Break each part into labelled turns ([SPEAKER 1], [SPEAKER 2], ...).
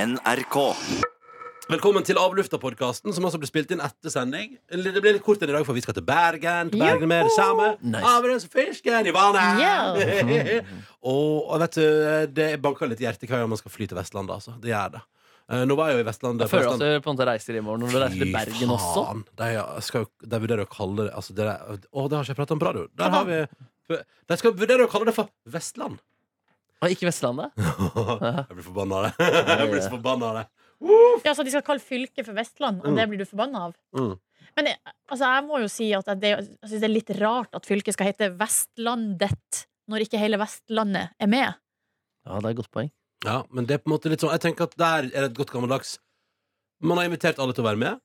[SPEAKER 1] NRK.
[SPEAKER 2] Velkommen til Avlufta-podkasten, som altså blir spilt inn etter sending. Eller, Det blir litt kort enn i dag, for vi skal til Bergen. Til Bergen med det samme.
[SPEAKER 3] Nice.
[SPEAKER 2] Avløsfisken i vannet!
[SPEAKER 4] Yeah.
[SPEAKER 2] og, og vet du, det banker litt i hjertet hver gang man skal fly til Vestlandet, altså. Det gjør det. Eh, Nå var jeg jo i Vestlandet.
[SPEAKER 3] Jeg føler at
[SPEAKER 2] Vestlandet-
[SPEAKER 3] du på en måte reiser i morgen Når du reiser til Bergen også
[SPEAKER 2] faen. De, skal, jo- de vurderer å kalle det altså, det der, Å, det har ikke jeg pratet om på radio. Der har vi De skal vurdere å kalle det for Vestland.
[SPEAKER 3] Og ikke Vestlandet
[SPEAKER 2] Jeg blir forbanna av det. Jeg blir så forbanna av det.
[SPEAKER 4] Ja, så de skal kalle fylket for Vestland, og
[SPEAKER 2] Mm.
[SPEAKER 4] det blir du forbanna av?
[SPEAKER 2] Mm.
[SPEAKER 4] Men jeg, altså, jeg må jo si at det, jeg synes det er litt rart at fylket skal hete Vestlandet når ikke hele Vestlandet er med.
[SPEAKER 3] Ja, det er et godt poeng
[SPEAKER 2] Ja, men det er på en måte litt sånn Jeg tenker at der er det et godt gammeldags Man har invitert alle til å være med.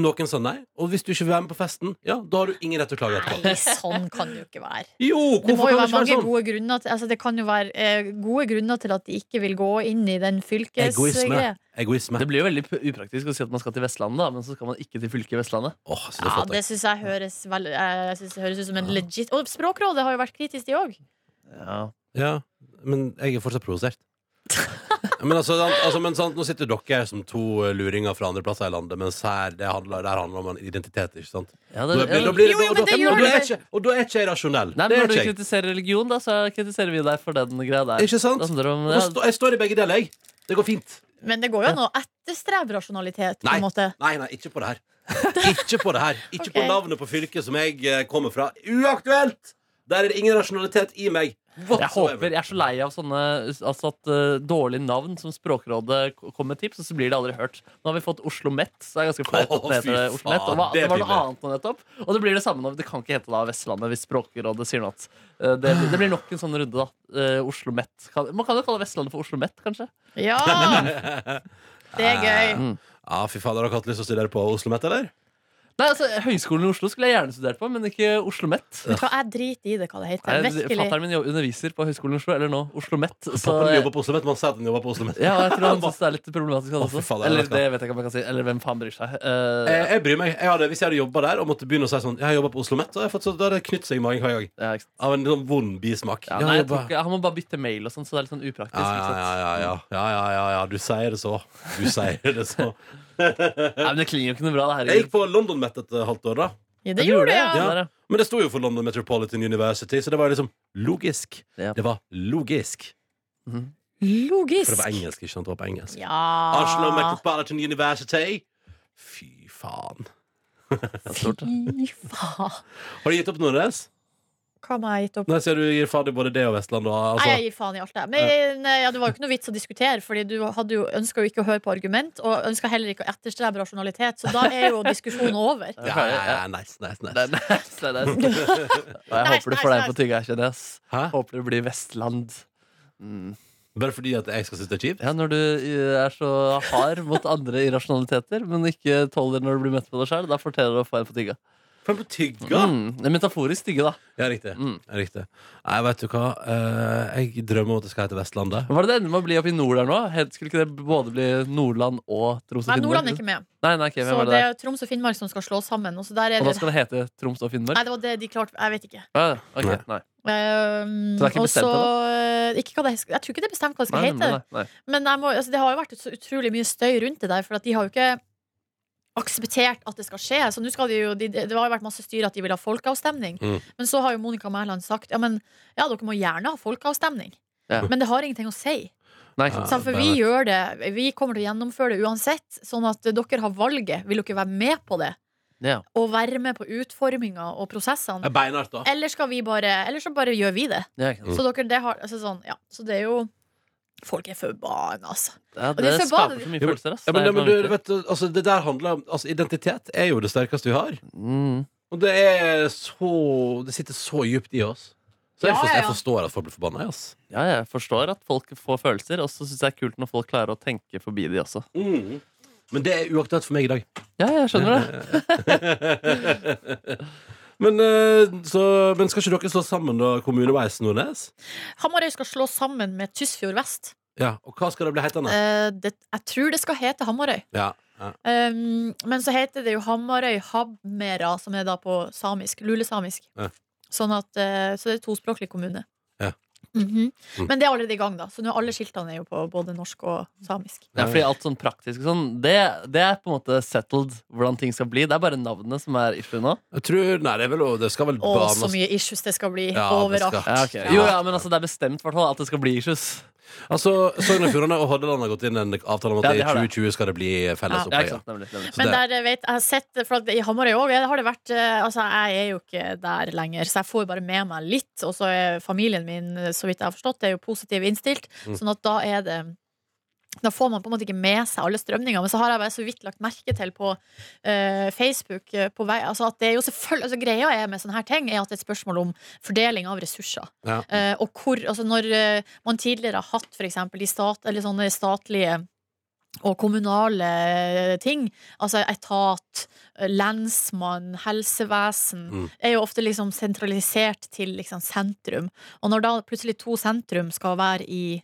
[SPEAKER 2] Noen sa nei. Og hvis du ikke vil være med på festen, ja, da har du ingen rett til å klage etterpå.
[SPEAKER 4] Nei, sånn kan det jo ikke være.
[SPEAKER 2] Jo, hvorfor kan
[SPEAKER 4] Det må jo
[SPEAKER 2] det
[SPEAKER 4] være
[SPEAKER 2] ikke være
[SPEAKER 4] mange
[SPEAKER 2] sånn?
[SPEAKER 4] gode grunner til, altså, Det kan jo være eh, gode grunner til at de ikke vil gå inn i den
[SPEAKER 2] Egoisme.
[SPEAKER 4] fylkesgreia.
[SPEAKER 2] Egoisme.
[SPEAKER 3] Det blir jo veldig p- upraktisk å si at man skal til Vestlandet da, Men så skal man ikke til fylket Vestlandet
[SPEAKER 2] Åh, så det
[SPEAKER 4] Ja,
[SPEAKER 2] fatter jeg.
[SPEAKER 4] det syns jeg høres vel, eh, jeg synes det høres ut som en legit Og Språkrådet har jo vært kritisk, de òg.
[SPEAKER 3] Ja,
[SPEAKER 2] Ja, men jeg er fortsatt provosert. men altså, sant, altså men sant, Nå sitter dere som to eh, luringer fra andre plasser i landet, mens her det handler, der handler det om en identitet. ikke sant?
[SPEAKER 3] ja
[SPEAKER 2] Da
[SPEAKER 3] det,
[SPEAKER 2] blir- da
[SPEAKER 3] ja.
[SPEAKER 2] blir-
[SPEAKER 4] Jo,
[SPEAKER 2] da-
[SPEAKER 4] jo, men det
[SPEAKER 2] da-
[SPEAKER 4] gjør
[SPEAKER 2] og da er
[SPEAKER 4] det.
[SPEAKER 2] ikke- Og da er ikke jeg rasjonell. det
[SPEAKER 3] Nei, men
[SPEAKER 2] er
[SPEAKER 3] når du
[SPEAKER 2] ikke jeg.
[SPEAKER 3] kritiserer religion da Så kritiserer vi deg for den greia der
[SPEAKER 2] Ikke sant?
[SPEAKER 3] Da
[SPEAKER 4] Altså,
[SPEAKER 3] handler det om,
[SPEAKER 2] Og
[SPEAKER 3] ja,
[SPEAKER 2] stå- Jeg står i begge deler, jeg. Det går fint.
[SPEAKER 4] Men det går jo an å etterstrebe rasjonalitet, på
[SPEAKER 2] Nei.
[SPEAKER 4] en måte.
[SPEAKER 2] Nei, nei, ikke på det her. Ikke på det her. Ikke på
[SPEAKER 4] Ok.
[SPEAKER 2] navnet på fylket som jeg eh, kommer fra. Uaktuelt! Der er det ingen rasjonalitet i meg.
[SPEAKER 3] Jeg håper, jeg er så lei av sånne altså at, eh, dårlige navn som Språkrådet k- kommer med tips, og så blir det aldri hørt. Nå har vi fått Oslo Met, så det er ganske flaut at
[SPEAKER 2] Å,
[SPEAKER 3] det
[SPEAKER 2] fy
[SPEAKER 3] heter Oslo Met. Og hva,
[SPEAKER 2] faen, det
[SPEAKER 3] det var noe
[SPEAKER 2] blir det.
[SPEAKER 3] annet nå nettopp. Og det blir det samme nå. Det kan ikke hete da Vestlandet hvis Språkrådet sier noe annet. Eh, Det, det blir nok en sånn runde, da. Eh, Oslo Met. Kan- Man kan jo kalle Vestlandet for Oslo Met, kanskje.
[SPEAKER 4] Ja! Det er gøy.
[SPEAKER 2] Ja, fy faen, Har dere hatt lyst til å studere på Oslo Met, eller?
[SPEAKER 3] Nei, altså, Høgskolen i Oslo skulle jeg gjerne studert på, men ikke Oslo Met.
[SPEAKER 4] Vet du hva, jeg driter i det, hva det heter. Virkelig.
[SPEAKER 3] Fatter'n min jo- underviser på Høgskolen i Oslo, eller nå Oslo Met.
[SPEAKER 2] Pappa
[SPEAKER 3] Så eh,
[SPEAKER 2] jobber på Oslo Met. Man sier at han jobber på Oslo Met.
[SPEAKER 3] ja, og jeg tror han syns det er litt problematisk. han
[SPEAKER 2] Å, fy
[SPEAKER 3] også.
[SPEAKER 2] faen, det er
[SPEAKER 3] eller
[SPEAKER 2] det skal.
[SPEAKER 3] det vet jeg ikke om jeg kan si. Eller hvem faen bryr seg. Eh,
[SPEAKER 2] Eh, Jeg bryr meg. Jeg hadde, hvis jeg hadde jobba der og måtte begynne å si sånn Jeg har jobba på Oslo Met, så hadde jeg fått så, da hadde det knytt seg i magen hver gang.
[SPEAKER 3] Ja, ikke sant.
[SPEAKER 2] Av en sånn vond bismak. Jeg
[SPEAKER 3] Ja, nei,
[SPEAKER 2] har
[SPEAKER 3] jeg tror
[SPEAKER 2] jobbet-
[SPEAKER 3] ikke, han må bare bytte mail og sånn, så det er litt sånn upraktisk.
[SPEAKER 2] ja,
[SPEAKER 3] ikke
[SPEAKER 2] ja,
[SPEAKER 3] sant?
[SPEAKER 2] ja, ja, ja, ja, ja, ja, ja, du sier det så. Du sier det så.
[SPEAKER 3] Nei, men Det klinger jo ikke noe bra. det
[SPEAKER 2] Jeg gikk
[SPEAKER 3] herregud.
[SPEAKER 2] på London Met et eh, halvt år, da.
[SPEAKER 4] Ja,
[SPEAKER 3] Ja,
[SPEAKER 4] det
[SPEAKER 3] du
[SPEAKER 4] gjorde det,
[SPEAKER 3] det,
[SPEAKER 4] ja.
[SPEAKER 2] ja.
[SPEAKER 3] Der, ja.
[SPEAKER 2] Men det sto jo for London Metropolitan University, så det var liksom logisk.
[SPEAKER 3] Ja.
[SPEAKER 2] Det var logisk. For det
[SPEAKER 4] Logisk.
[SPEAKER 2] var engelsk, ikke sant? Det var på engelsk. Oslo
[SPEAKER 4] Ja.
[SPEAKER 2] Metropolitan University. Fy faen.
[SPEAKER 4] Fy faen.
[SPEAKER 2] Har du gitt opp noe deres?
[SPEAKER 4] Hva må jeg ha gitt opp?
[SPEAKER 2] Nei, sier du gir faen i både det og Vestland og
[SPEAKER 4] Nei, jeg
[SPEAKER 2] altså.
[SPEAKER 4] gir faen i alt, jeg. Men ja, det var jo ikke noe vits å diskutere, Fordi du hadde jo, ønska jo ikke å høre på argument, og ønska heller ikke å etterstrebe rasjonalitet, så da er jo diskusjonen over.
[SPEAKER 2] Ja, ja, ja, nice, nice,
[SPEAKER 3] Nei,
[SPEAKER 2] nice.
[SPEAKER 3] nei, nei, nei. Og Jeg håper du får deg på tygga, kjenner jeg. ass.
[SPEAKER 2] Hæ?
[SPEAKER 3] Håper det blir Vestland.
[SPEAKER 2] Bare fordi at jeg skal synes det er kjipt?
[SPEAKER 3] Ja, Når du eh, er så hard mot andre irrasjonaliteter, men ikke tåler når du blir møtt med deg sjøl, da fortjener du å få en på tygga.
[SPEAKER 2] Får jeg på tygga?
[SPEAKER 3] Mm, det er metaforisk tygge, da.
[SPEAKER 2] Ja, riktig. Ja, riktig. Nei, vet du hva? Eh, Jeg drømmer om at det skal hete Vestlandet.
[SPEAKER 3] Hva var det det ender med å bli oppi nord der nå? Het- Skulle ikke det både bli Nordland og Troms og
[SPEAKER 4] Nei,
[SPEAKER 3] Finnmark?
[SPEAKER 4] Nordland er ikke med,
[SPEAKER 3] Nei, nei, ok, hvem
[SPEAKER 4] så
[SPEAKER 3] var det
[SPEAKER 4] det
[SPEAKER 3] der?
[SPEAKER 4] er Troms og Finnmark som skal slås sammen. Og så der er
[SPEAKER 3] Og da
[SPEAKER 4] det
[SPEAKER 3] skal det hete Troms og Finnmark?
[SPEAKER 4] Nei, det var det de klarte Jeg vet ikke.
[SPEAKER 3] Ah, ok, nei.
[SPEAKER 4] Ehm,
[SPEAKER 3] Så det er ikke
[SPEAKER 4] og
[SPEAKER 3] bestemt
[SPEAKER 4] så, eh, ikke hva det, jeg tror ikke det er bestemt hva det skal
[SPEAKER 3] Nei,
[SPEAKER 4] hete.
[SPEAKER 3] nei, nei.
[SPEAKER 4] Men jeg må, altså, det har jo vært så utrolig mye støy rundt det der, for at de har jo ikke akseptert at det skal skje. Så nå skal de jo, de, det har jo vært masse styr at de vil ha folkeavstemning.
[SPEAKER 2] Mm.
[SPEAKER 4] Men så har jo Monica Mæland sagt ja, men ja, dere må gjerne ha folkeavstemning.
[SPEAKER 3] Ja.
[SPEAKER 4] Men det har ingenting å si.
[SPEAKER 3] Nei, ikke sant.
[SPEAKER 4] Så for
[SPEAKER 2] det
[SPEAKER 4] vi
[SPEAKER 2] vet.
[SPEAKER 4] gjør det. Vi kommer til å gjennomføre det uansett. Sånn at dere har valget. Vil dere være med på det?
[SPEAKER 3] Ja.
[SPEAKER 4] Og være med på utforminga og prosessene?
[SPEAKER 2] Eh, Beinhardt, da.
[SPEAKER 4] Eller skal vi bare Eller så bare gjør vi det.
[SPEAKER 3] Ja, ikke sant.
[SPEAKER 4] Så dere, det har Altså sånn, ja. Så det er jo Folk er forbanna, altså.
[SPEAKER 3] Ja,
[SPEAKER 4] det
[SPEAKER 3] det,
[SPEAKER 4] er så bra-
[SPEAKER 3] skaper så mye
[SPEAKER 2] Ja, men-
[SPEAKER 3] følelser, ass.
[SPEAKER 2] Ja, men,
[SPEAKER 3] Det
[SPEAKER 2] ja,
[SPEAKER 3] er
[SPEAKER 2] men
[SPEAKER 3] helt
[SPEAKER 2] du, vet, du, altså, det der handler om altså, Identitet er jo det sterkeste vi har.
[SPEAKER 3] vanvittig.
[SPEAKER 2] Og det er så Det sitter så djupt i oss. Så jeg,
[SPEAKER 4] Ja,
[SPEAKER 2] forstår,
[SPEAKER 4] ja, ja.
[SPEAKER 2] jeg forstår at folk blir forbanna. Yes.
[SPEAKER 3] Ja, jeg forstår at folk får følelser, og så syns jeg det er kult når folk klarer å tenke forbi de også.
[SPEAKER 2] Men det er uaktuelt for meg i dag.
[SPEAKER 3] Ja, jeg skjønner det.
[SPEAKER 2] Men, eh, så, men skal ikke dere slå sammen da, kommuneveis Nordnes?
[SPEAKER 4] Hamarøy skal slå sammen med Tysfjord Vest.
[SPEAKER 2] Ja, Og hva skal det bli hetende?
[SPEAKER 4] Eh, det, jeg tror det skal hete Hamarøy.
[SPEAKER 2] Ja, ja.
[SPEAKER 4] Um, men så heter det jo Hamarøy Hamera, som er da på samisk. Lulesamisk.
[SPEAKER 2] Ja.
[SPEAKER 4] Sånn at, eh, så det er tospråklig kommune.
[SPEAKER 2] Ja.
[SPEAKER 4] Mhm.
[SPEAKER 2] Mm.
[SPEAKER 4] Men det er allerede i gang, da. Så nå er alle skiltene er jo på både norsk og samisk.
[SPEAKER 3] Ja, fordi alt sånn praktisk og sånn, det, det er på en måte settled hvordan ting skal bli. Det er bare navnet som er issue nå.
[SPEAKER 2] Jeg tror, nei, det, er vel, det skal vel
[SPEAKER 4] Å, så
[SPEAKER 2] banes-
[SPEAKER 4] mye issues det skal bli
[SPEAKER 2] Ja, det
[SPEAKER 4] overalt.
[SPEAKER 2] skal.
[SPEAKER 3] Ja, ok. Jo, ja, men altså, det er bestemt hvertfall, at det skal bli issues.
[SPEAKER 2] Altså, Sogn og Fjordane og Hordaland har gått inn en avtale om at
[SPEAKER 3] Ja,
[SPEAKER 2] i
[SPEAKER 3] de har det.
[SPEAKER 2] 2020 skal det bli felles
[SPEAKER 3] Ja,
[SPEAKER 4] Ja.
[SPEAKER 3] ikke
[SPEAKER 2] opplegg.
[SPEAKER 3] sant, nemlig, nemlig.
[SPEAKER 2] Så
[SPEAKER 4] Men
[SPEAKER 2] det-
[SPEAKER 4] der eh, vet, jeg har sett det, for at I Hamarøy òg har det vært eh, Altså, jeg er jo ikke der lenger, så jeg får bare med meg litt. Og så er familien min, eh, så vidt jeg har forstått, det er jo positiv innstilt.
[SPEAKER 2] Mm.
[SPEAKER 4] Sånn at da er det da får man på en måte ikke med seg alle strømninger. Men så har jeg bare så vidt lagt merke til på eh, Facebook eh, på vei, altså at det er jo selvfølgelig, altså Greia er med sånne her ting er at det er et spørsmål om fordeling av ressurser.
[SPEAKER 2] Ja.
[SPEAKER 4] Eh, og hvor, altså når eh, man tidligere har hatt for eksempel de stat, eller sånne statlige og kommunale eh, ting, altså etat, eh, lensmann, helsevesen,
[SPEAKER 2] Mm.
[SPEAKER 4] er jo ofte liksom sentralisert til liksom sentrum. Og når da plutselig to sentrum skal være i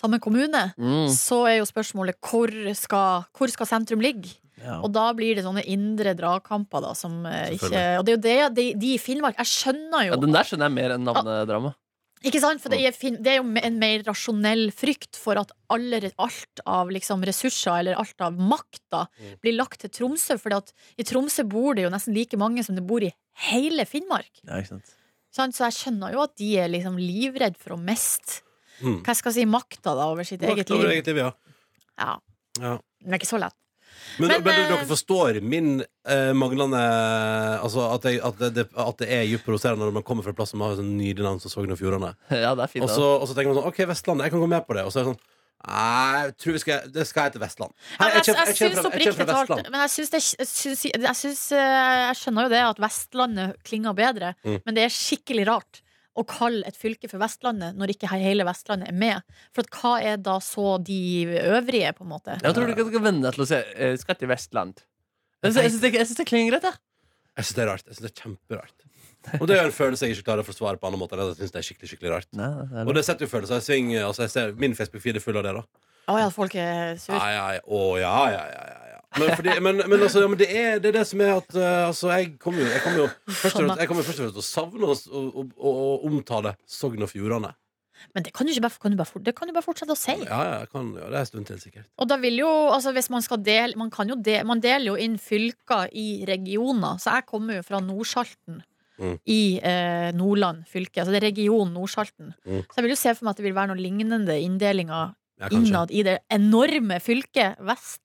[SPEAKER 4] samme kommune,
[SPEAKER 3] Mm.
[SPEAKER 4] så er jo spørsmålet hvor skal, hvor skal sentrum ligge?
[SPEAKER 3] Ja.
[SPEAKER 4] Og da blir det sånne indre dragkamper, da, som eh, ikke
[SPEAKER 2] Selvfølgelig.
[SPEAKER 4] Og det er jo det de, de i Finnmark Jeg skjønner jo
[SPEAKER 3] Ja,
[SPEAKER 4] Ah.
[SPEAKER 3] den der skjønner jeg mer enn navnedrama.
[SPEAKER 4] Ikke sant? For det er, fin- det er jo en mer rasjonell frykt for at alle, re- alt av liksom ressurser, eller alt av makta,
[SPEAKER 2] Mm.
[SPEAKER 4] blir lagt til Tromsø. For i Tromsø bor det jo nesten like mange som det bor i hele Finnmark.
[SPEAKER 3] Ja, ikke sant.
[SPEAKER 4] Sant? Så jeg skjønner jo at de er liksom livredd for å miste
[SPEAKER 2] Mm.
[SPEAKER 4] hva jeg skal si, makta da over sitt eget
[SPEAKER 2] Makt over
[SPEAKER 4] liv.
[SPEAKER 2] eget liv, ja.
[SPEAKER 4] Ja.
[SPEAKER 2] Ja.
[SPEAKER 4] Men det er ikke så lett.
[SPEAKER 2] Men, men,
[SPEAKER 4] Men, eh,
[SPEAKER 2] dere forstår min eh, manglende Altså at, jeg, at, det, det- at det er djupt provoserende når man kommer fra en plass som har sånn nydelig navn som Sogn og Fjordane.
[SPEAKER 3] Ja, det er fint.
[SPEAKER 2] Og
[SPEAKER 3] da.
[SPEAKER 2] så og så tenker man sånn OK, Vestlandet, jeg kan gå med på det. Og så er det sånn Nei, jeg tror vi skal, det skal hete Vestland.
[SPEAKER 4] Ja,
[SPEAKER 2] Hei,
[SPEAKER 4] men jeg,
[SPEAKER 2] kjem-
[SPEAKER 4] jeg,
[SPEAKER 2] kjem
[SPEAKER 4] syns
[SPEAKER 2] fra- jeg kjem
[SPEAKER 4] oppriktig
[SPEAKER 2] fra
[SPEAKER 4] talt
[SPEAKER 2] Vestland.
[SPEAKER 4] Men jeg syns det jeg syns, jeg, syns, eh, jeg skjønner jo det at Vestlandet klinger bedre,
[SPEAKER 2] Mm.
[SPEAKER 4] men det er skikkelig rart å kalle et fylke for Vestlandet når ikke hele Vestlandet er med. For at hva er da så de øvrige, på en måte?
[SPEAKER 3] Jeg tror du ikke skal venne deg til å se eh, Skal til Vestland. Jeg syns jeg syns det, jeg syns det klinger greit, jeg.
[SPEAKER 2] Jeg syns det er rart. Jeg synes det er kjemperart. Og det er jo en følelse jeg ikke klarer å forsvare på annen måte. enn at Jeg synes det er skikkelig, skikkelig rart Og det setter jo følelser. Jeg sving, altså jeg ser, min Facebook-feed er full av det, da.
[SPEAKER 4] Å ja, folk er sur.
[SPEAKER 2] Ja, ja, ja. Å, ja, ja, ja, ja, ja. Men, fordi, men, men altså, ja, men det, er, det er det som er at eh, altså, jeg kommer jo, jeg kommer jo først og fremst- jeg kommer først og fremst til å savne oss og, og, og, og omtale Sogn og Fjordane.
[SPEAKER 4] Men det kan du, ikke bare, kan, du bare, fort- det kan du bare fortsette å si.
[SPEAKER 2] Ja, ja, jeg kan, ja, det er en stund til, sikkert.
[SPEAKER 4] Og da vil jo, altså hvis man skal dele Man, kan jo del- man deler jo inn fylker i regioner. Så jeg kommer jo fra Nordsalten
[SPEAKER 2] Mm.
[SPEAKER 4] i eh, Nordland fylke. Altså det er region Nordsalten.
[SPEAKER 2] Mm.
[SPEAKER 4] Så jeg vil jo se for meg at det vil være noen lignende inndelinger
[SPEAKER 2] Ja, kanskje.
[SPEAKER 4] innad i det enorme fylket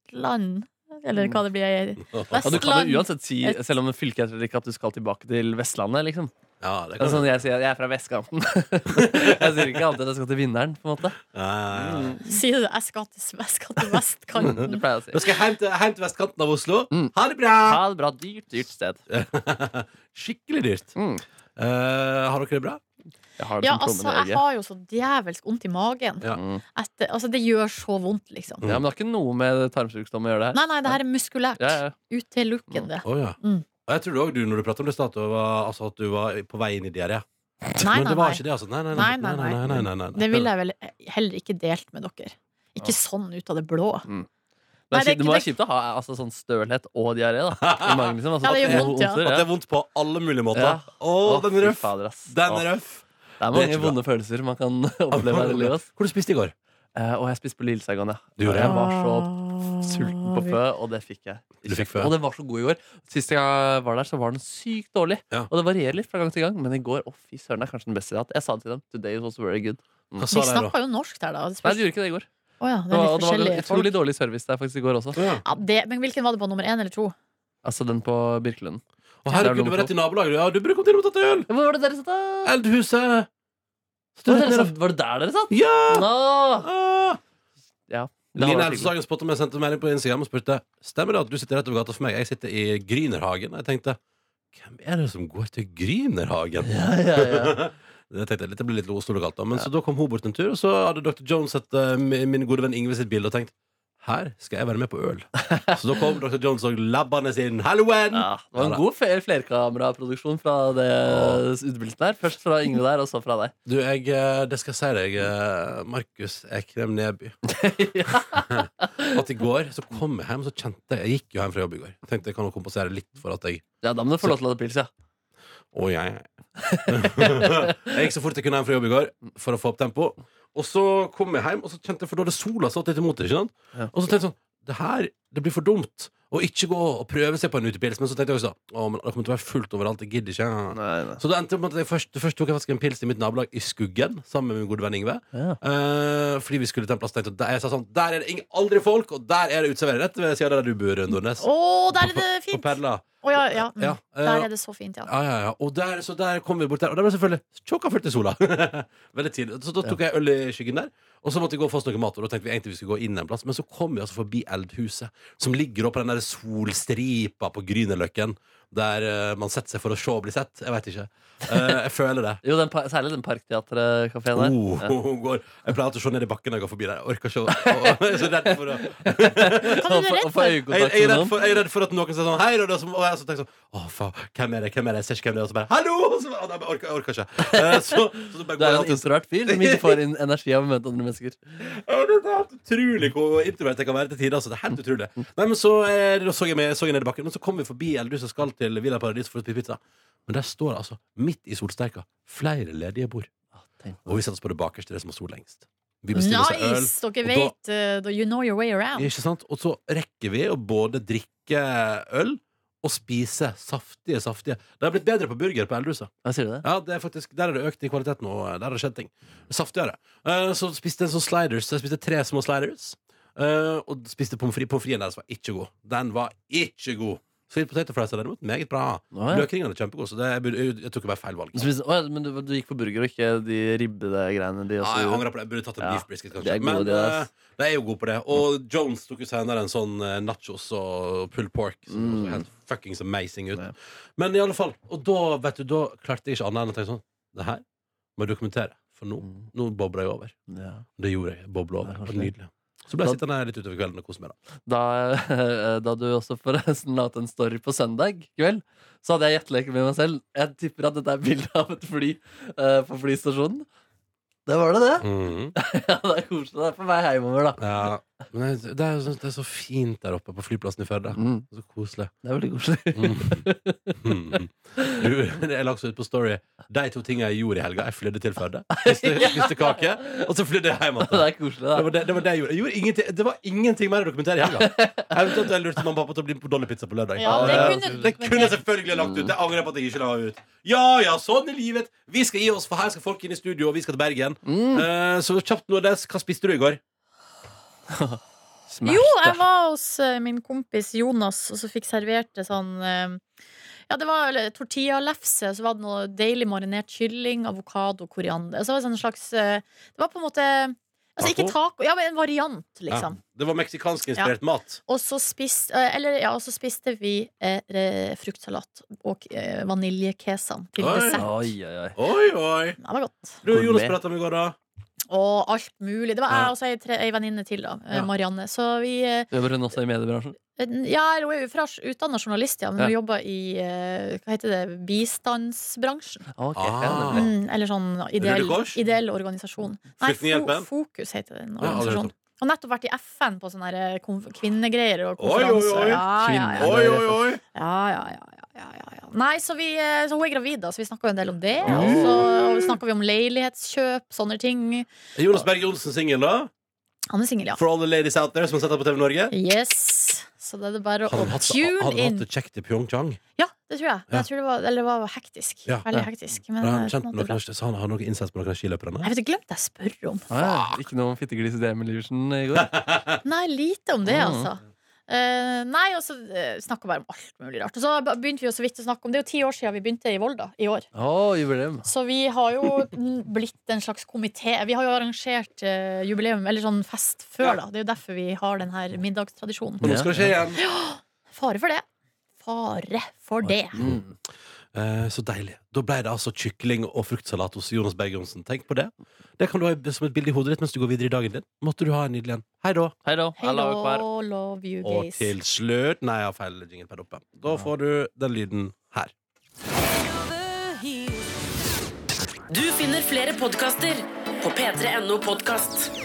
[SPEAKER 4] Vestland. Eller hva det blir.
[SPEAKER 3] Ja, du kan jo
[SPEAKER 4] Vestland.
[SPEAKER 3] uansett si, selv om fylket heter det ikke, at du skal tilbake til Vestlandet, liksom.
[SPEAKER 2] Ja, det
[SPEAKER 3] Det er
[SPEAKER 2] kan
[SPEAKER 3] sånn jeg sier jeg er fra vestkanten. jeg sier ikke alltid at jeg skal til vinneren, på en måte. Mm,
[SPEAKER 2] ja, ja, ja.
[SPEAKER 4] Sier du 'jeg skal til, jeg skal til
[SPEAKER 3] Det
[SPEAKER 4] vestkanten'?
[SPEAKER 3] pleier jeg å
[SPEAKER 2] Nå
[SPEAKER 3] si.
[SPEAKER 2] skal jeg hjem til, hjem til vestkanten av Oslo.
[SPEAKER 3] Mm.
[SPEAKER 2] Ha det bra!
[SPEAKER 3] Ha det bra. Dyrt, dyrt sted.
[SPEAKER 2] Skikkelig dyrt.
[SPEAKER 3] Mm.
[SPEAKER 2] Eh, har dere det bra?
[SPEAKER 3] Jeg har det
[SPEAKER 4] Ja,
[SPEAKER 3] som
[SPEAKER 4] altså,
[SPEAKER 3] plommen i
[SPEAKER 4] jeg
[SPEAKER 3] øyet.
[SPEAKER 4] har jo så djevelsk vondt i magen.
[SPEAKER 2] Ja.
[SPEAKER 3] Mm.
[SPEAKER 4] Etter, altså, det gjør så vondt, liksom.
[SPEAKER 3] Ja, men det har ikke noe med tarmsykdom å gjøre, det her.
[SPEAKER 4] Nei, nei, det her er muskulært.
[SPEAKER 3] Ja, ja.
[SPEAKER 4] Utelukkende.
[SPEAKER 2] Å, ja.
[SPEAKER 4] Mm.
[SPEAKER 2] Og jeg trodde òg du, når du pratet om det i stad, at du var- altså, at du var på vei inn i diaré.
[SPEAKER 4] Nei,
[SPEAKER 2] Men
[SPEAKER 4] nei,
[SPEAKER 2] det var
[SPEAKER 4] nei.
[SPEAKER 2] ikke det, altså. Nei, nei, nei.
[SPEAKER 4] Nei, nei, nei.
[SPEAKER 2] nei, nei, nei, nei, nei.
[SPEAKER 4] Det ville jeg vel heller ikke delt med dere. Ikke sånn ut av det blå.
[SPEAKER 3] Men
[SPEAKER 4] Nei,
[SPEAKER 3] det,
[SPEAKER 4] det er
[SPEAKER 3] må være
[SPEAKER 4] ikke-
[SPEAKER 3] kjipt å ha altså, sånn stølhet og diaré, da. I magen, liksom. Altså,
[SPEAKER 4] Ja, det gjør
[SPEAKER 3] at
[SPEAKER 4] vondt, ja.
[SPEAKER 3] ondser,
[SPEAKER 2] At det er vondt på alle mulige måter.
[SPEAKER 3] Ja.
[SPEAKER 2] Å,
[SPEAKER 3] Å,
[SPEAKER 2] den
[SPEAKER 3] fy
[SPEAKER 2] er røff!
[SPEAKER 3] fader, ass.
[SPEAKER 2] Den
[SPEAKER 3] Å,
[SPEAKER 2] er røff!
[SPEAKER 3] Det er
[SPEAKER 2] Det er
[SPEAKER 3] mange
[SPEAKER 2] ikke bra.
[SPEAKER 3] vonde følelser man kan oppleve her i livet. ass.
[SPEAKER 2] Hvor du spiste i går?
[SPEAKER 3] Eh, Og jeg spiste på Lille Saigon, ja.
[SPEAKER 2] Du gjorde det?
[SPEAKER 3] Jeg var så sulten
[SPEAKER 4] Ah.
[SPEAKER 3] på fø, og det fikk jeg.
[SPEAKER 2] Du fikk fø?
[SPEAKER 3] Og den var så god i går. Sist jeg var der, så var den sykt dårlig.
[SPEAKER 2] Ja.
[SPEAKER 3] Og det varierer litt fra gang til gang, men i går å fy søren, det er kanskje den beste jeg har hatt. Jeg sa det til dem. Today was very good.
[SPEAKER 2] Hva
[SPEAKER 4] Vi
[SPEAKER 2] sa de da?
[SPEAKER 4] snakka jo norsk der, da.
[SPEAKER 3] Nei,
[SPEAKER 4] Det spørs-
[SPEAKER 3] de gjorde ikke det i går.
[SPEAKER 4] Å ja,
[SPEAKER 3] Det var, og
[SPEAKER 4] det er litt
[SPEAKER 3] det var
[SPEAKER 4] forskjellige folk.
[SPEAKER 3] utrolig dårlig service der faktisk i går også.
[SPEAKER 2] Å, Ja.
[SPEAKER 4] Ja, det, men hvilken var det på nummer én eller to?
[SPEAKER 3] Altså den på Birkelunden.
[SPEAKER 2] Å,
[SPEAKER 3] Der er
[SPEAKER 2] herregud, du
[SPEAKER 3] nummer
[SPEAKER 2] var rett
[SPEAKER 3] to.
[SPEAKER 2] i nabolaget. Ja, du burde kommet inn og tatt deg øl!
[SPEAKER 3] Hvor var det dere satt, da?
[SPEAKER 2] Eldhuset.
[SPEAKER 3] Var
[SPEAKER 2] Stod
[SPEAKER 3] det,
[SPEAKER 2] rett
[SPEAKER 3] dere
[SPEAKER 2] nede.
[SPEAKER 3] satt? var det der dere satt?
[SPEAKER 2] Ja!
[SPEAKER 3] Nå!
[SPEAKER 2] Ah!
[SPEAKER 3] Ja. Det
[SPEAKER 2] Line
[SPEAKER 3] var veldig
[SPEAKER 2] Elvsdagen spotta meg og sendte melding på Instagram og spurte Stemmer det at du sitter rett over gata for meg. Jeg sitter i Grynerhagen. Jeg tenkte Hvem er det som går til Grynerhagen?
[SPEAKER 3] Ja, ja, ja.
[SPEAKER 2] Det tenkte jeg litt, det ble litt Oslo-lokalt da Men så da kom hun bort en tur Og så hadde Dr. Jones sett eh, min min gode venn Ingve sitt bilde Og tenkt Her skal jeg være med på øl Så da kom Dr. Jones og labbene sin Halloen!
[SPEAKER 3] Ja, det var en
[SPEAKER 2] Ja, da.
[SPEAKER 3] god fe- flerkameraproduksjon fra det utbildet der. Først fra Yngve der, og så fra deg.
[SPEAKER 2] Du, jeg, eh, det skal jeg si deg eh, Markus Ekrem Neby At i går så kom jeg hjem Så kjente jeg, jeg gikk jo hjem fra jobb i går Tenkte jeg kan jo kompensere litt for at jeg
[SPEAKER 3] Ja, da må du få lov til å ha det pils, ja.
[SPEAKER 2] Og jeg Jeg gikk så fort jeg kunne hjem fra jobb i går for å få opp tempo. Og så kom jeg hjem, og så kjente jeg for da hadde sola stått litt imot. Ikke sant?
[SPEAKER 3] Ja.
[SPEAKER 2] Og så tenkte jeg sånn Det her det blir for dumt å ikke gå og prøve seg på en utepils. Men så tenkte jeg også Å, men det kommer til å være fullt overalt. Jeg gidder ikke.
[SPEAKER 3] Nei, nei.
[SPEAKER 2] Så det endte opp med at jeg først, først tok jeg faktisk en pils i mitt nabolag i skuggen sammen med min gode venn Ingve.
[SPEAKER 3] Ja.
[SPEAKER 2] Eh, fordi vi skulle til en plass tenkte, jeg, og der, jeg sa sånn, der er det ingen, aldri folk, og der er det uteservering. Rett ved siden av der du bor, Nordnes.
[SPEAKER 4] Å, der er det
[SPEAKER 2] På
[SPEAKER 4] fint!
[SPEAKER 2] Perla.
[SPEAKER 4] Å, ja, ja. Mm.
[SPEAKER 2] Ja, eh,
[SPEAKER 4] Der er det så fint, ja.
[SPEAKER 2] ja, ja, ja. Og der, så der kom vi bort der, og der ble det selvfølgelig tjokka fullt i sola. Veldig tidlig. Så da tok jeg øl i skyggen der, og så måtte jeg gå og få oss noe mat. Og da tenkte vi egentlig vi skulle gå inn en plass, men så kom vi altså forbi Eldhuset, som ligger oppå den der solstripa på Grünerløkken, der eh, man setter seg for å se og bli sett. Jeg veit ikke. Eh, jeg føler det.
[SPEAKER 3] Jo, den, par- særlig den Parkteatret-kafeen der.
[SPEAKER 2] Oh,
[SPEAKER 3] Ja.
[SPEAKER 2] hun går. Jeg pleier alltid å se ned i bakken når jeg går forbi der. Jeg orker ikke å Jeg er så redd for å
[SPEAKER 4] Hva er du
[SPEAKER 3] Og
[SPEAKER 4] redd
[SPEAKER 3] få- og få
[SPEAKER 4] for?
[SPEAKER 2] jeg,
[SPEAKER 3] øyekontakt
[SPEAKER 2] jeg, er
[SPEAKER 3] med
[SPEAKER 2] redd
[SPEAKER 3] noen.
[SPEAKER 2] for, jeg er redd for at noen sier sånn Hei, og, det er som, og jeg så tenker sånn Å, faen, hvem er det? Hvem er det? Jeg ser ikke hvem det er. Og så bare Hallo! Og så, bare, «Å, nei, jeg orker, jeg orker ikke. Eh, Så, så, så bare
[SPEAKER 3] Du er
[SPEAKER 2] går
[SPEAKER 3] jo
[SPEAKER 2] jeg inn.
[SPEAKER 3] en introvert fyr som ikke får inn energi av å møte andre mennesker.
[SPEAKER 2] Ja, sånn, Det er helt utrolig hvor introvert jeg kan være til tider. Altså. Det er helt utrolig. Nei, men så, eh, da så jeg, meg, så jeg ned i bakken, men så kom vi forbi Eldhuset og skal til Villa Paradis for å spise pizza. Men der står det altså, midt i solsterka, flere ledige bord. Og vi setter oss på det bakerste, det som har sol lengst. Vi bestiller oss øl.
[SPEAKER 4] Nice! Dere
[SPEAKER 2] og
[SPEAKER 4] vet eh, da- You know your way around.
[SPEAKER 2] Ikke sant? Og så rekker vi å både drikke øl og spise saftige, saftige Det har blitt bedre på burger på eldrehuset.
[SPEAKER 3] Hva sier du det?
[SPEAKER 2] Ja, det er faktisk, der er det økt i kvalitet nå. Der har det skjedd ting. Saftigere. Eh, så spiste jeg en sånn sliders. Jeg spiste tre små sliders. eh, og spiste pommes frites. Pommes fritesen deres var ikke god. Den var ikke god. Sweet potato fries er derimot meget bra.
[SPEAKER 3] Å, ja.
[SPEAKER 2] Løkringene er kjempegode, så det, jeg, burde- jeg, jeg tok bare feil valg.
[SPEAKER 3] Du spiste- å, ja, men du, du gikk på burger og ikke de ribbegreiene de
[SPEAKER 2] Ja,
[SPEAKER 3] også
[SPEAKER 2] jeg
[SPEAKER 3] gjorde?
[SPEAKER 2] angrer på det. Jeg burde tatt en
[SPEAKER 3] Ja,
[SPEAKER 2] beef brisket, kanskje.
[SPEAKER 3] det er gode
[SPEAKER 2] Men
[SPEAKER 3] ideer, ass.
[SPEAKER 2] eh, det er jo god på det. Og Jones tok jo senere en sånn eh, nachos og pulled pork. Som
[SPEAKER 3] Mm.
[SPEAKER 2] så helt fuckings amazing ut.
[SPEAKER 3] Ja.
[SPEAKER 2] Men i alle fall, og da, vet du, da klarte jeg ikke annet enn å tenke sånn Det her må jeg dokumentere, for nå,
[SPEAKER 3] Mm,
[SPEAKER 2] nå bobler jeg over.
[SPEAKER 3] Ja.
[SPEAKER 2] Det gjorde jeg. Bobla over.
[SPEAKER 3] Ja,
[SPEAKER 2] Det
[SPEAKER 3] kanskje
[SPEAKER 2] var nydelig. Så ble jeg sittende her litt utover kvelden og kose meg, da.
[SPEAKER 3] da, da du også forresten la ut en story på søndag kveld, så hadde jeg gjetteleken med meg selv. Jeg tipper at dette er bildet av et fly eh, på flystasjonen. Det var det, det. Ja, det er koselig. Det er på vei hjemover, da.
[SPEAKER 2] Mhm. ja. Men det, det, er, jo så- det er så fint der oppe på flyplassen i Førde.
[SPEAKER 3] Mm,
[SPEAKER 2] Så koselig.
[SPEAKER 3] det er veldig koselig.
[SPEAKER 2] Mm. Mm. Du, jeg la også ut på Story de to tingene jeg gjorde i helga. Jeg flydde til Førde, spiste spiste kake, og så flydde jeg hjem igjen.
[SPEAKER 3] Det er koselig,
[SPEAKER 2] Det var
[SPEAKER 3] da.
[SPEAKER 2] det, det var det jeg gjorde. Jeg gjorde ingenting, det var ingenting mer å dokumentere i helga. Eventuelt jeg lurte mamma og pappa til å bli med på Dollypizza på lørdag.
[SPEAKER 4] Ja,
[SPEAKER 3] det
[SPEAKER 2] Eh, det
[SPEAKER 3] kunne du
[SPEAKER 2] kunne jeg
[SPEAKER 4] dokumentert.
[SPEAKER 2] selvfølgelig lagt ut. Jeg angrer på at jeg ikke la ut. Ja ja, sånn er livet. Vi skal gi oss, for her skal folk inn i studio, og vi skal til Bergen.
[SPEAKER 3] Mm.
[SPEAKER 2] Eh, så kjapt, Nordnes, hva spiste du i går?
[SPEAKER 4] Jo, jeg var hos eh, min kompis Jonas, og så fikk servert det sånn eh, Ja, det var vel tortillalefse, så var det noe deilig marinert kylling, avokado, koriander. Så var det sånn en slags eh, Det var på en måte Altså ikke taco, ja, men en variant, liksom.
[SPEAKER 2] Ja, det var meksikansk-inspirert mat.
[SPEAKER 4] Og så spiste, eh, eller, ja, og så spiste vi eh, re- fruktsalat og eh, vaniljekesam til
[SPEAKER 2] Oi.
[SPEAKER 4] dessert.
[SPEAKER 3] Oi, oi, oi.
[SPEAKER 2] Oi, oi.
[SPEAKER 4] Det var godt.
[SPEAKER 2] Du og Jonas
[SPEAKER 3] Gourmet.
[SPEAKER 2] prata om i går, da.
[SPEAKER 4] Og alt mulig. Det var
[SPEAKER 2] Ja.
[SPEAKER 4] jeg og så ei tre- ei venninne til, da. eh,
[SPEAKER 2] Ja.
[SPEAKER 4] Marianne. Så vi eh,
[SPEAKER 3] Jobber hun også i mediebransjen?
[SPEAKER 4] Ja, hun er jo fra- utdannet journalist, ja, men hun
[SPEAKER 3] Ja.
[SPEAKER 4] jobber i eh, hva heter det, bistandsbransjen.
[SPEAKER 3] Ok,
[SPEAKER 2] Ah.
[SPEAKER 3] ja, nemlig.
[SPEAKER 4] Mm, eller sånn ideell,
[SPEAKER 2] Røde Kors?
[SPEAKER 4] ideell organisasjon.
[SPEAKER 2] Flyktninghjelpen?
[SPEAKER 4] Fo- Fokus heter den
[SPEAKER 2] Ja, aldri hørt om.
[SPEAKER 4] organisasjonen. Og nettopp vært i FN på sånne her eh, konf- kvinnegreier og
[SPEAKER 2] Oi, oi, oi.
[SPEAKER 4] konferanser. Ja, ja, ja.
[SPEAKER 2] Oi, oi, oi.
[SPEAKER 4] Ja, ja, ja, ja, ja, ja, ja. Nei, så, vi, eh, så hun er gravid, da, så vi snakka en del om det.
[SPEAKER 3] Ja.
[SPEAKER 4] Og så snakka vi om leilighetskjøp, sånne ting.
[SPEAKER 2] Jonas Berg Johnsen singel, da?
[SPEAKER 4] Han er singel, ja.
[SPEAKER 2] For all the ladies out there som har sett deg på TV Norge?
[SPEAKER 4] Yes. Så da er det bare
[SPEAKER 2] Hadde
[SPEAKER 4] å
[SPEAKER 2] han hatt,
[SPEAKER 4] tune
[SPEAKER 2] hadde han
[SPEAKER 4] inn.
[SPEAKER 2] hatt det kjekt i Pyeongchang?
[SPEAKER 4] Ja, det tror jeg. Men
[SPEAKER 2] Ja.
[SPEAKER 4] Jeg tror det var, eller det var hektisk.
[SPEAKER 2] Ja,
[SPEAKER 4] Veldig
[SPEAKER 3] ja.
[SPEAKER 4] hektisk. Men
[SPEAKER 2] Har han
[SPEAKER 4] eh, på en
[SPEAKER 2] kjent
[SPEAKER 4] måte
[SPEAKER 2] noen,
[SPEAKER 4] bra.
[SPEAKER 2] så han har noe innsats på noen skiløperne?
[SPEAKER 4] Jeg vet, glemte jeg å spørre om.
[SPEAKER 3] Ah, ja. Ikke noe fitteglis i det med Liversen i går?
[SPEAKER 4] Nei, lite om det,
[SPEAKER 3] Mm.
[SPEAKER 4] altså. Eh, nei, og så uh, snakka bare om alt mulig rart. Og så ba- begynte vi jo så vidt å snakke om Det er jo ti år siden vi begynte i Volda. i år
[SPEAKER 3] Å, jubileum.
[SPEAKER 4] Så vi har jo n- blitt en slags komité. Vi har jo arrangert eh, jubileum, eller sånn fest, før, da. Det er jo derfor vi har den her middagstradisjonen.
[SPEAKER 2] Og nå skal det skje igjen.
[SPEAKER 4] Fare for det. Fare for det.
[SPEAKER 3] Mm.
[SPEAKER 2] Eh, så deilig. Da ble det altså kykling og fruktsalat hos Jonas Berg Johnsen. Tenk på det. Det kan du ha som et bilde i hodet ditt mens du går videre i dagen din. Måtte du ha en nydelig en. Hei da.
[SPEAKER 3] Hei da. I love you, Par.
[SPEAKER 4] Hello, love you
[SPEAKER 2] Og
[SPEAKER 4] guys.
[SPEAKER 2] til slutt Nei, jeg har feil jinglepad oppe. Da får du den lyden her.
[SPEAKER 1] Du finner flere podkaster på p3.no podkast.